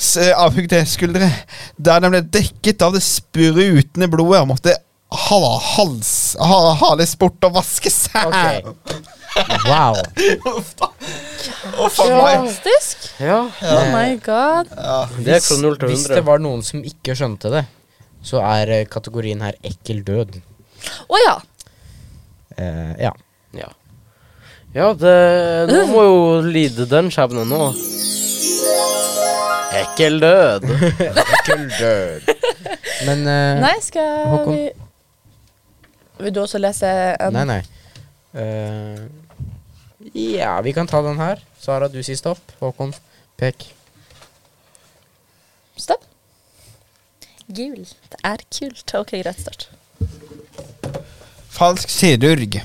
S3: s- avhugde skuldre, der den ble dekket av det sprutende blodet og måtte ha, hals, ha, hales bort og vaskes.
S1: Ok. Wow.
S3: Uff da. Å, faen meg.
S4: Fantastisk.
S2: Ja,
S4: Oh my god.
S3: Ja.
S2: det er fra null til
S1: Hvis det
S2: 100.
S1: var noen som ikke skjønte det, så er eh, kategorien her ekkel død.
S4: Å ja.
S1: Eh, ja.
S2: Ja, ja det, noen må jo lide den skjebnen nå. Ekkel død.
S1: Ekkel død. Men eh,
S4: Nei, skal
S1: Håkon?
S4: vi Vil du også lese en
S1: Nei, nei. Eh, ja, vi kan ta den her. Sara, du sier stopp. Håkon, pek.
S4: stopp? Gul. Det er kult. Ok, greit. Start.
S3: Falsk kirurg.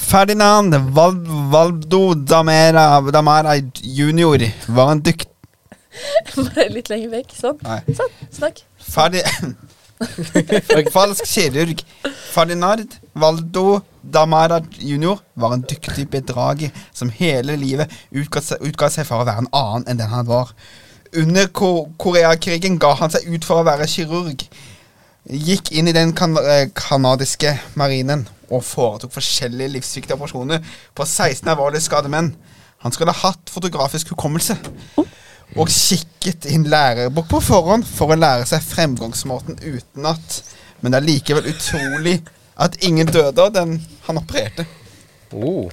S3: Ferdinand Val Valdo Damera, Damara junior var en dykt...
S4: Bare litt lenger vekk. Sånn.
S3: Nei.
S4: Sånn. Snakk.
S3: Ferdi... Falsk kirurg. Ferdinand Valdo Damara jr. var en dyktig bedrager som hele livet utga seg, utga seg for å være en annen enn den han var. Under Ko Koreakrigen ga han seg ut for å være kirurg. Gikk inn i den kan eh, kanadiske marinen og foretok forskjellige livsviktige operasjoner på 16 alvorlig skadede menn. Han skulle ha hatt fotografisk hukommelse og kikket i en lærebok på forhånd for å lære seg fremgangsmåten utenat. Men det er likevel utrolig at ingen døde av den han opererte.
S2: Oh.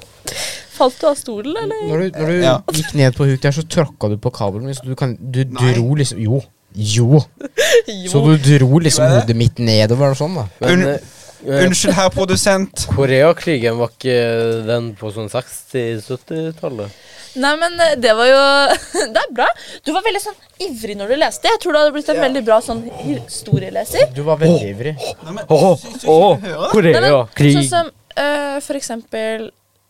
S4: Falt du av stolen, eller?
S1: Når du, når du
S3: Ja.
S1: gikk ned på huk der, så tråkka du på kabelen min, så du kan Du
S3: Nei.
S1: dro liksom Jo. Jo.
S4: Jo.
S1: Så du dro liksom
S3: Gjorde jeg det?
S1: hodet mitt nedover og sånn, da.
S2: Men
S3: Un-
S2: eh, eh,
S3: Unnskyld, herr produsent.
S2: Koreakrigen var ikke den på sånn 60-70-tallet?
S4: Nei, men eh, det var jo Det er bra. Du var veldig sånn ivrig når du leste. Jeg tror du hadde blitt en veldig bra sånn historieleser.
S1: Du var veldig ivrig.
S4: Nei, men, altså,
S2: Koreakrig.
S4: Sånn som eh, for eksempel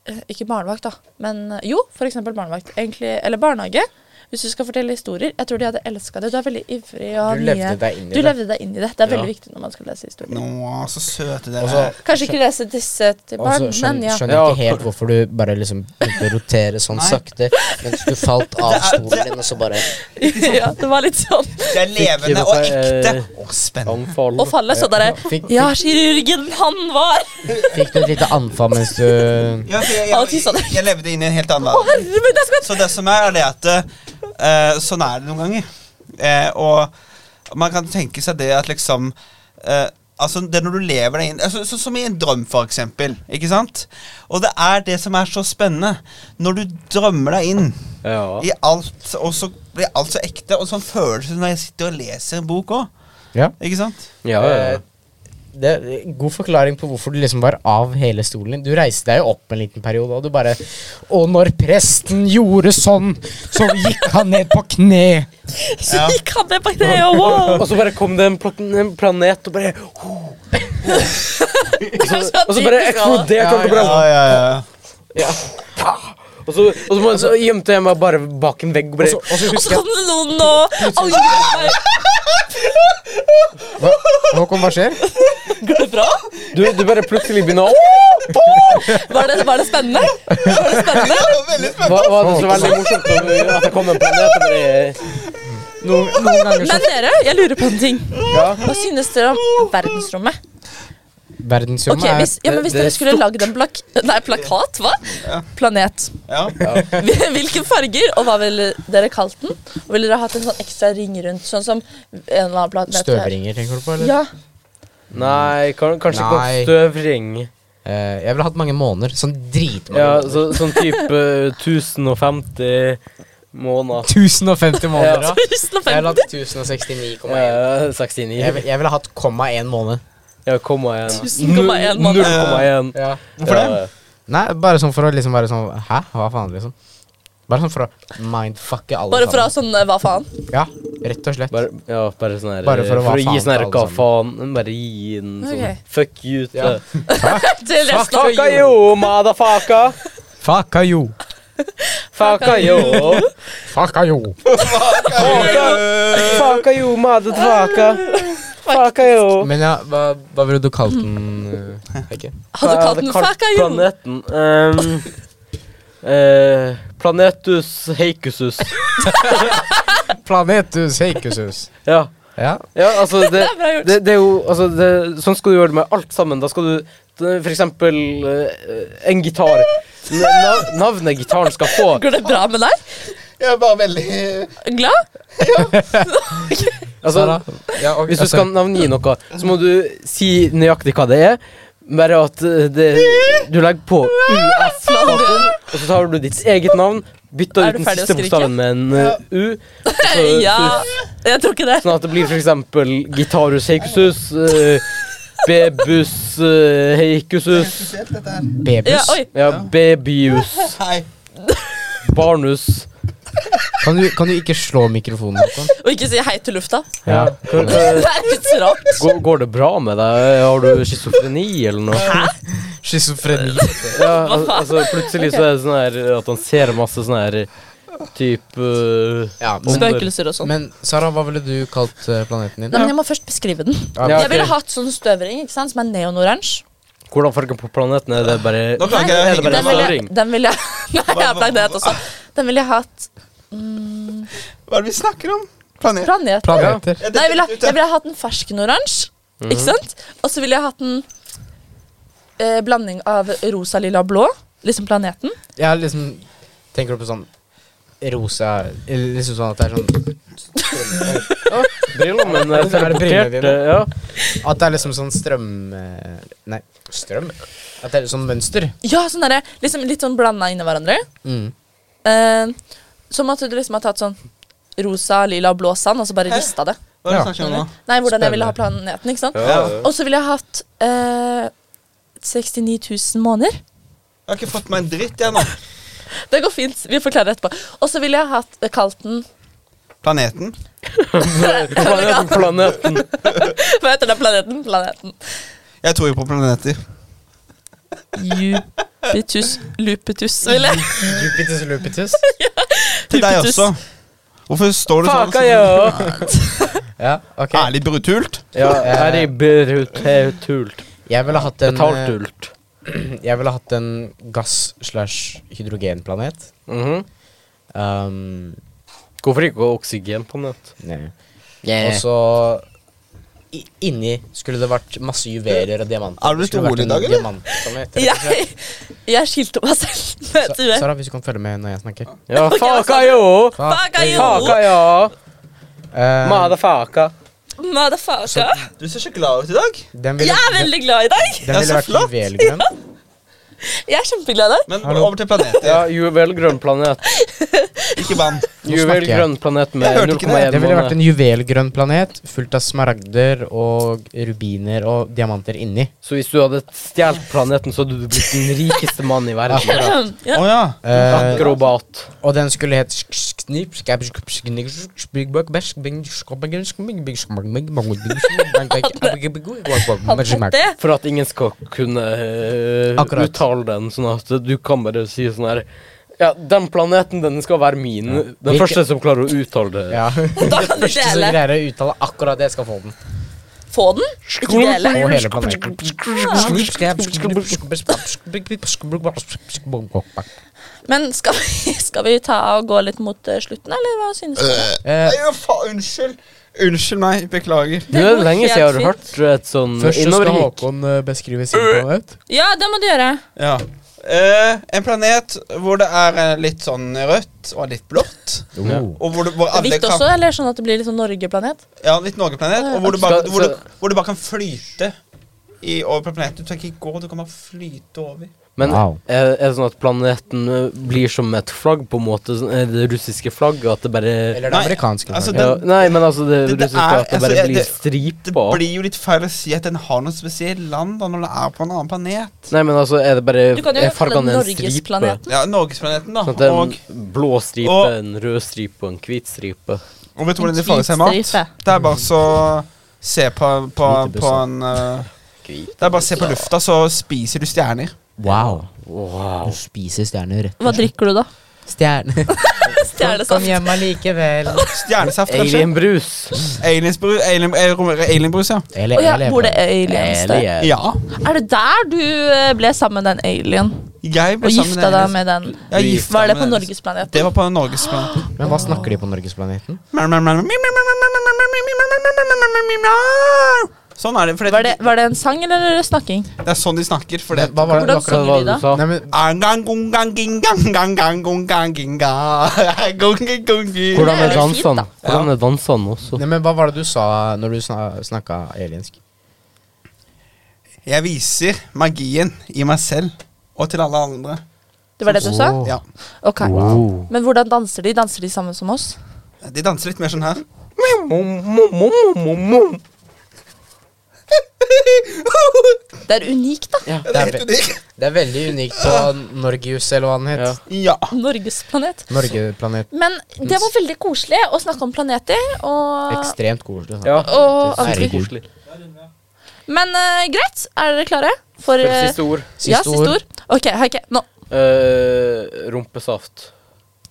S4: eh, Ikke barnevakt, da. Men eh, jo, for eksempel barnevakt. Egentlig, eller barnehage. Hvis du skal fortelle historier. Jeg tror de hadde elska det. Du er veldig ivrig. Og har
S1: Du
S4: mye-
S1: levde deg inn i
S4: Du
S1: det.
S4: levde deg inn i det. Det er
S2: Ja.
S4: veldig viktig når man skal lese historier.
S3: Nå, så søte
S1: Og
S3: dere
S1: så
S3: er.
S4: Kanskje ikke lese disse til
S1: og
S4: barn,
S1: så skjønner,
S4: men ja.
S1: skjønner jeg ikke helt hvorfor du bare liksom begynte å rotere sånn
S3: Nei.
S1: sakte mens du falt av stolen din, og så bare
S4: ja. Det var litt sånn
S3: Det er levende og ekte
S2: eh,
S3: og spennende.
S2: Anfall.
S4: å falle, så bare
S1: Fikk-
S4: Ja, kirurgen han var
S1: Fikk du et lite anfall mens du
S3: Ja, for jeg, jeg, jeg, jeg levde inn i en helt annen
S4: Å,
S3: verden.
S4: herre min, jeg skal
S3: Så det som er, er det at eh, sånn er det noen ganger. Eh, og man kan tenke seg det at liksom eh, Altså, det er når du lever deg inn altså, så, Som i en drøm, for eksempel. Ikke sant? Og det er det som er så spennende. Når du drømmer deg inn
S2: Ja.
S3: i alt, og så blir alt så ekte. Og sånn følelse når jeg sitter og leser en bok òg.
S1: Ja.
S3: Ikke sant?
S2: Ja, ja, ja.
S1: det, God forklaring på hvorfor du liksom var av hele stolen din. Du reiste deg jo opp en liten periode, og du bare Og når presten gjorde sånn, så gikk han ned på kne.
S4: Så gikk han ned på kne, og wow!
S2: Og så bare kom det en, pla en planet og bare oh, Og så bare eksploderte alt og bare
S3: ja, ja.
S2: ja. Og så, og så, må- så gjemte jeg meg bare bak en vegg og
S1: Og så,
S2: bare
S1: og så
S4: Og så
S1: husker
S4: kom det noen og angrer
S1: jeg hva, Håkon, hva skjer?
S4: Går det bra?
S2: Du, du bare plutselig begynner å
S4: Var det, var det spennende? Var det spennende?
S2: Hva hva er det så veldig morsomt om at det kom en planet og bare
S1: Noen, noen ganger så
S4: Men dere, jeg lurer på en ting.
S2: sånn- Ja.
S4: Hva synes dere om verdensrommet? Ok,
S1: Verdensrommet
S4: hvis, ja, men hvis
S2: det-
S4: dere
S2: det er
S4: skulle lagd en plak nei, plakat, hva? Planet.
S3: ja. ja.
S4: Hvilke farger, og hva ville dere kalt den? Og ville dere hatt en sånn ekstra ring rundt, sånn som en eller annen
S1: er
S4: planet
S1: støvringer, tenker du på? Eller?
S4: Ja.
S2: Nei, kan, kanskje ikke
S1: Nei.
S2: en støvring.
S1: Eh, jeg ville hatt mange måneder. Sånn dritmange
S2: Ja,
S1: måneder.
S2: så, sånn type 1050 måneder.
S1: 1050 måneder,
S2: Ja.
S1: ja. Jeg ville hatt 1069,1.
S2: Eh, 69.
S1: Jeg, vil- jeg ville hatt komma én måned.
S2: Ja, komma igjen.
S4: 1000,1
S2: Null-
S4: måneder.
S2: 0,1.
S3: Hvorfor det?
S2: Ja,
S1: Nei, bare sånn for å liksom være sånn Hæ, hva faen, liksom? Bare sånn for å mindfucke alle
S4: Bare for å ha
S1: sammen.
S4: sånn eh, hva faen.
S1: Ja, rett og slett.
S2: Bare, ja, bare sånn her
S1: Bare for å
S2: eh,
S1: være
S2: gi
S1: faen
S2: sånn her
S1: til
S2: hva
S1: alle
S2: faen Bare gi den sånn
S4: Ok.
S2: Fuck you til
S1: Ja.
S4: Til resten av
S2: Fucka you, motherfucka!
S1: Fucka you.
S2: Fucka you!
S1: Fucka you.
S2: Fucka you, motherfucka! Fucka you!
S1: Men ja, hva, hva ville du kalt den? eh, Heike?
S4: Hadde du kalt den fucka you?
S2: Planeten ehm, eh, Planetus heikusus.
S1: Planetus heikusus.
S2: Ja.
S1: Ja.
S2: ja, altså det,
S4: er bra gjort.
S2: det, det er jo altså det, Sånn skal du gjøre det med alt sammen. Da skal du det- For eksempel eh, en gitar. N- nav- Navnet gitaren skal få
S4: Går det bra med deg?
S3: Jeg er bare veldig
S4: Glad?
S2: altså,
S1: Sara? Ja, og-
S2: Hvis
S1: ja,
S2: du skal
S1: sorry.
S2: navngi noe, så må du si nøyaktig hva det er. Bare at eh, det, du legger på US, og så tar du ditt eget navn, bytter
S4: Er
S2: ut
S4: du
S2: den
S4: ferdig å
S2: siste
S4: skrike?
S2: bokstaven med en eh, U. og så-
S4: Ja. Jeg tror ikke det.
S2: Sånn at det blir for eksempel Gitarus heikusus, eh, Bebus eh, heikusus,
S3: Spesielt dette her.
S1: Bebus?
S4: Ja, oi.
S2: ja, Bebius,
S3: Hei.
S2: Barnus
S1: Kan, du, kan du ikke slå mikrofonen? Håkon?
S4: Og ikke si hei til lufta.
S1: Ja.
S2: Hva- hva-
S4: Det er litt rart.
S2: Går, går det bra med deg? Har du schizofreni eller noe?
S1: Schizofreni.
S2: Ja, al altså plutselig så er det sånn her at han ser masse sånn her type uh,
S1: Ja, men,
S4: Spøkelser og sånn.
S1: men Sara, hva ville du kalt eh, planeten din?
S4: Nei, men jeg må først beskrive den.
S2: Ja,
S4: Jeg ville
S2: ok.
S4: hatt sånn støvring ikke sant, som er neonoransje.
S2: Hvordan fargen på planeten er det bare
S3: Nå kan
S2: Er
S3: ikke jeg
S2: det
S3: henge
S2: bare
S4: Den
S3: med.
S4: ville
S2: støvring?
S4: jeg Den ville jeg Nei, jeg har planet også. Den ville jeg hatt mm,
S3: Hva er det vi snakker om? Planet.
S4: Planet.
S1: Planeter.
S3: Ja, det-
S4: Nei, jeg ville,
S3: det-
S4: jeg ville hatt en fersken oransje.
S2: Mhm.
S4: Ikke sant? Og så ville jeg hatt en eh, blanding av rosa, lilla og blå. Liksom planeten.
S1: Jeg er liksom Tenker du på sånn rosa eller Liksom sånn at det er sånn
S2: Briller, men øh,
S1: Er det brillene dine?
S2: teleporterte Ja.
S1: At det er liksom sånn strøm eh, Nei, strøm? At det er sånn mønster?
S4: Ja, sånn derre liksom Litt sånn blanda inni hverandre.
S1: Mm.
S4: Eh, som at du liksom har tatt sånn rosa, lila og blå sand, og så bare
S3: Hæ?
S4: rista det.
S3: Hva er det vi snakker om nå?
S4: Nei, hvordan jeg
S1: Spennende.
S4: ville ha planeten, ikke sant?
S2: Ja.
S4: Og så ville jeg hatt eh, 69 000 måneder.
S3: Jeg har ikke fått meg en dritt, jeg nå.
S4: Det går fint. Vi forklarer etterpå. Og så ville jeg hatt eh, kalt den
S3: Planeten.
S2: Planeten, planeten.
S4: Hva heter den planeten? Planeten.
S3: Jeg tror jo på planeter.
S4: Jupitus lupitus, ville jeg.
S1: Jupiters lupitus.
S3: Til deg
S4: Hypetus.
S3: også. Hvorfor står du sånn?
S2: Fucka ja.
S1: Ja, ok.
S3: Ærlig brutult.
S2: Ja,
S1: Eh.
S2: her i Berhutult.
S1: Jeg ville hatt en eh,
S2: Betaltult.
S1: Jeg ville hatt en gass slash hydrogenplanet.
S2: Mhm.
S1: Um,
S2: Hvorfor ikke oksygenplanet?
S1: nei. Og så i- inni skulle det vært masse juveler og diamanter.
S3: Er du
S1: Det
S3: litt
S1: skulle vært
S3: rolig i
S1: en
S3: dag, eller?
S1: diamantplanet, rett og slett.
S4: Jeg, jeg skilte meg selv.
S1: Sa-
S4: Vet du det?
S1: Sara, hvis du kan følge med når jeg snakker.
S2: Ja,
S4: Ok,
S2: faka
S4: altså.
S2: jo!
S4: Fuck you!
S2: Faka ja!
S1: Eh,
S2: Motherfucka.
S4: Motherfucker.
S3: Du ser så glad ut i dag.
S1: den ville,
S4: Jeg er veldig glad i deg.
S1: den
S3: Ja,
S1: ville
S3: så
S1: vært
S3: flott.
S1: juvelgrønn.
S4: Jeg er kjempeglad i deg.
S3: Men
S1: Hallo.
S3: over til planeter.
S2: Ja, juvelgrønn planet.
S3: Ikke vann.
S1: Nå snakker jeg.
S2: Juvelgrønn planet med
S3: Jeg hørte
S2: 0,1
S3: ikke det.
S1: Det ville
S2: måned.
S1: vært en juvelgrønn planet fullt av smaragder og rubiner og diamanter inni.
S2: Så hvis du hadde stjålet planeten, så hadde du blitt den rikeste mannen i verden.
S3: Å
S4: Ja.
S3: ja.
S1: Eh,
S2: Akrobat.
S1: og den skulle hett Hadde
S4: Hadde fått det.
S2: For at ingen skal kunne eh,
S1: Akkurat.
S2: uttale den, sånn at du kan bare si sånn her Ja, den planeten, den skal være min. Den
S1: Hvilke-
S2: første som klarer å uttale det.
S1: Ja.
S4: Da kan du
S1: Første som
S4: dele.
S1: greier å uttale akkurat det, skal få den.
S4: Få den. Ikke dele.
S1: Og hele planeten.
S4: Men skal vi, skal vi ta og gå litt mot eh, slutten, eller hva synes du?
S1: Eh,
S3: Nei, faen, unnskyld. Unnskyld meg. Beklager.
S2: Det er
S4: går
S2: lenge
S4: helt
S2: siden jeg har
S4: fint.
S2: hørt et sånn
S1: Først så skal
S2: innoverrik
S1: Håkon eh, beskrive sin planet.
S4: Ja, det må du gjøre.
S3: Ja. Eh, en planet hvor det er eh, litt sånn rødt og litt blått.
S1: Oh.
S3: Og hvor, det, hvor alle
S4: Hvitt
S3: kan
S4: også, eller sånn at det blir litt sånn Norgeplanet?
S3: Ja, litt Norgeplanet. Og hvor du bare,
S2: Skal-
S3: hvor du,
S2: skal-
S3: hvor du bare kan flyte i, over på planeten. Du tenker i går du kommer flyte over.
S2: Men
S1: Wow.
S2: er, er det sånn at planeten ø, blir som et flagg, på en måte? sånn, eh, Det russiske flagget? At det bare
S1: Eller det
S3: Nei,
S1: amerikanske.
S3: altså,
S1: flagget.
S2: ja,
S3: den-
S2: Nei, men altså, det,
S3: det- det
S2: russiske
S3: er-
S2: at det
S3: altså,
S2: bare
S3: jeg-
S2: blir
S3: det-
S2: stripa
S3: Det blir jo litt feil å si at den har noe spesielt land da, når den er på en annen planet.
S2: Nei, men altså, er det bare
S4: Du kan jo
S2: er
S4: kalle
S2: fargene
S4: den
S2: en stripe?
S4: Norgesplaneten.
S3: Ja, Norgesplaneten, da.
S2: Sånn at det er
S3: og,
S2: en blå stripe,
S3: og-
S2: en rød stripe og en hvit stripe.
S3: og vet du hvordan
S5: En
S3: de farger seg mat?
S5: hvitstripe.
S3: Det er bare så Se på, på,
S1: Hvite
S3: på
S1: busser.
S3: en eh, Det er bare å se på lufta, så spiser du stjerner.
S1: Wow.
S2: Wow.
S1: Du spiser stjerner rett
S5: Hva drikker du, da?
S1: Stjerne.
S4: Stjernesaft.
S1: hjem allikevel.
S3: Stjernesaft, kanskje.
S2: Alienbrus.
S3: Aliensbru- alien- eh, rom- Alienbrus, ja.
S1: Eller
S4: Å ja,
S1: eller-
S4: bor det aliens der?
S2: Alien.
S3: Ja.
S4: Er det der du eh, ble sammen med den alien?
S3: Jeg ble
S4: Og
S3: sammen med
S4: gifta deg
S3: aliens.
S4: med den?
S3: Ja, gifta
S4: Var det
S3: meg
S4: på
S3: med den.
S4: Norgesplaneten?
S3: Det var på Norgesplaneten.
S1: Men hva snakker de på Norgesplaneten?
S3: Sånn er det. For
S4: Var det,
S3: det,
S4: var det en sang eller snakking?
S3: det er sånn de snakker. For det
S1: Hva var det
S4: Hvordan
S1: du akkurat
S4: synger de da?
S2: sa?
S1: Nei, men
S3: Hvordan
S2: Hvordan
S4: Det er
S2: er
S4: jo fint,
S2: dansene?
S4: da.
S2: Hvordan er dansene også?
S1: Nei, men hva var det du sa når du sna snakka aliensk?
S3: Jeg viser magien i meg selv og til alle andre.
S4: Det var det du sa?
S3: Ja.
S4: Ok.
S2: Wow.
S4: Men hvordan danser de? Danser de sammen som oss?
S3: De danser litt mer sånn her.
S4: Det er unikt, da.
S3: Ja, det er helt unikt.
S1: Det er veldig unikt på Norgius, eller hva den het.
S2: Ja.
S3: Ja.
S4: Norgesplanet.
S1: Norgeplanet.
S4: Men det var veldig koselig å snakke om planeter. Og,
S1: Ekstremt liksom. koselig.
S2: Ja.
S4: og
S1: Herregud.
S4: andre ting.
S2: Koselig.
S4: Men eh, greit, er dere klare? For
S2: For
S4: eh,
S2: siste ord.
S4: ja, siste ord. Ok, ok, nå.
S2: Eh, rumpesaft.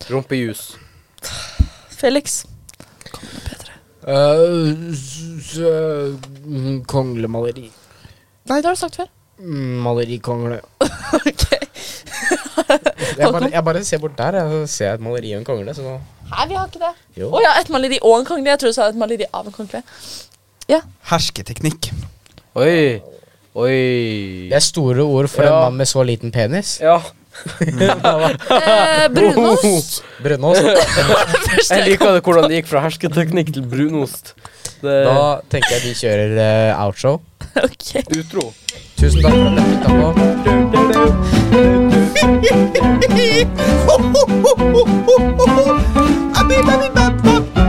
S2: Rumpejus.
S4: Felix.
S1: Øh, s- øh, mm, Konglemaleri.
S4: Nei, det har du sagt før.
S1: Mm, Malerikongle.
S4: Ok.
S1: Jeg bare, jeg bare ser bort der, jeg, så ser jeg et maleri av en kongle. Så nå
S4: Nei, vi har ikke det. Å
S1: Jo.
S4: ja, et maleri og en kongelig. Jeg tror du sa et maleri av en kongelig.
S3: Hersketeknikk.
S2: Oi. Oi.
S1: Det er store ord for en
S2: Ja.
S1: mann med så liten penis.
S2: Ja.
S4: Eh, brunost.
S1: Brunost.
S2: Jeg liker det hvordan det gikk fra hersketeknikk til brunost. Det
S1: Da tenker jeg vi kjører eh, outshow.
S4: Ok.
S2: utro.
S1: Tusen takk for at dere lytta på.
S3: Abibabibabab.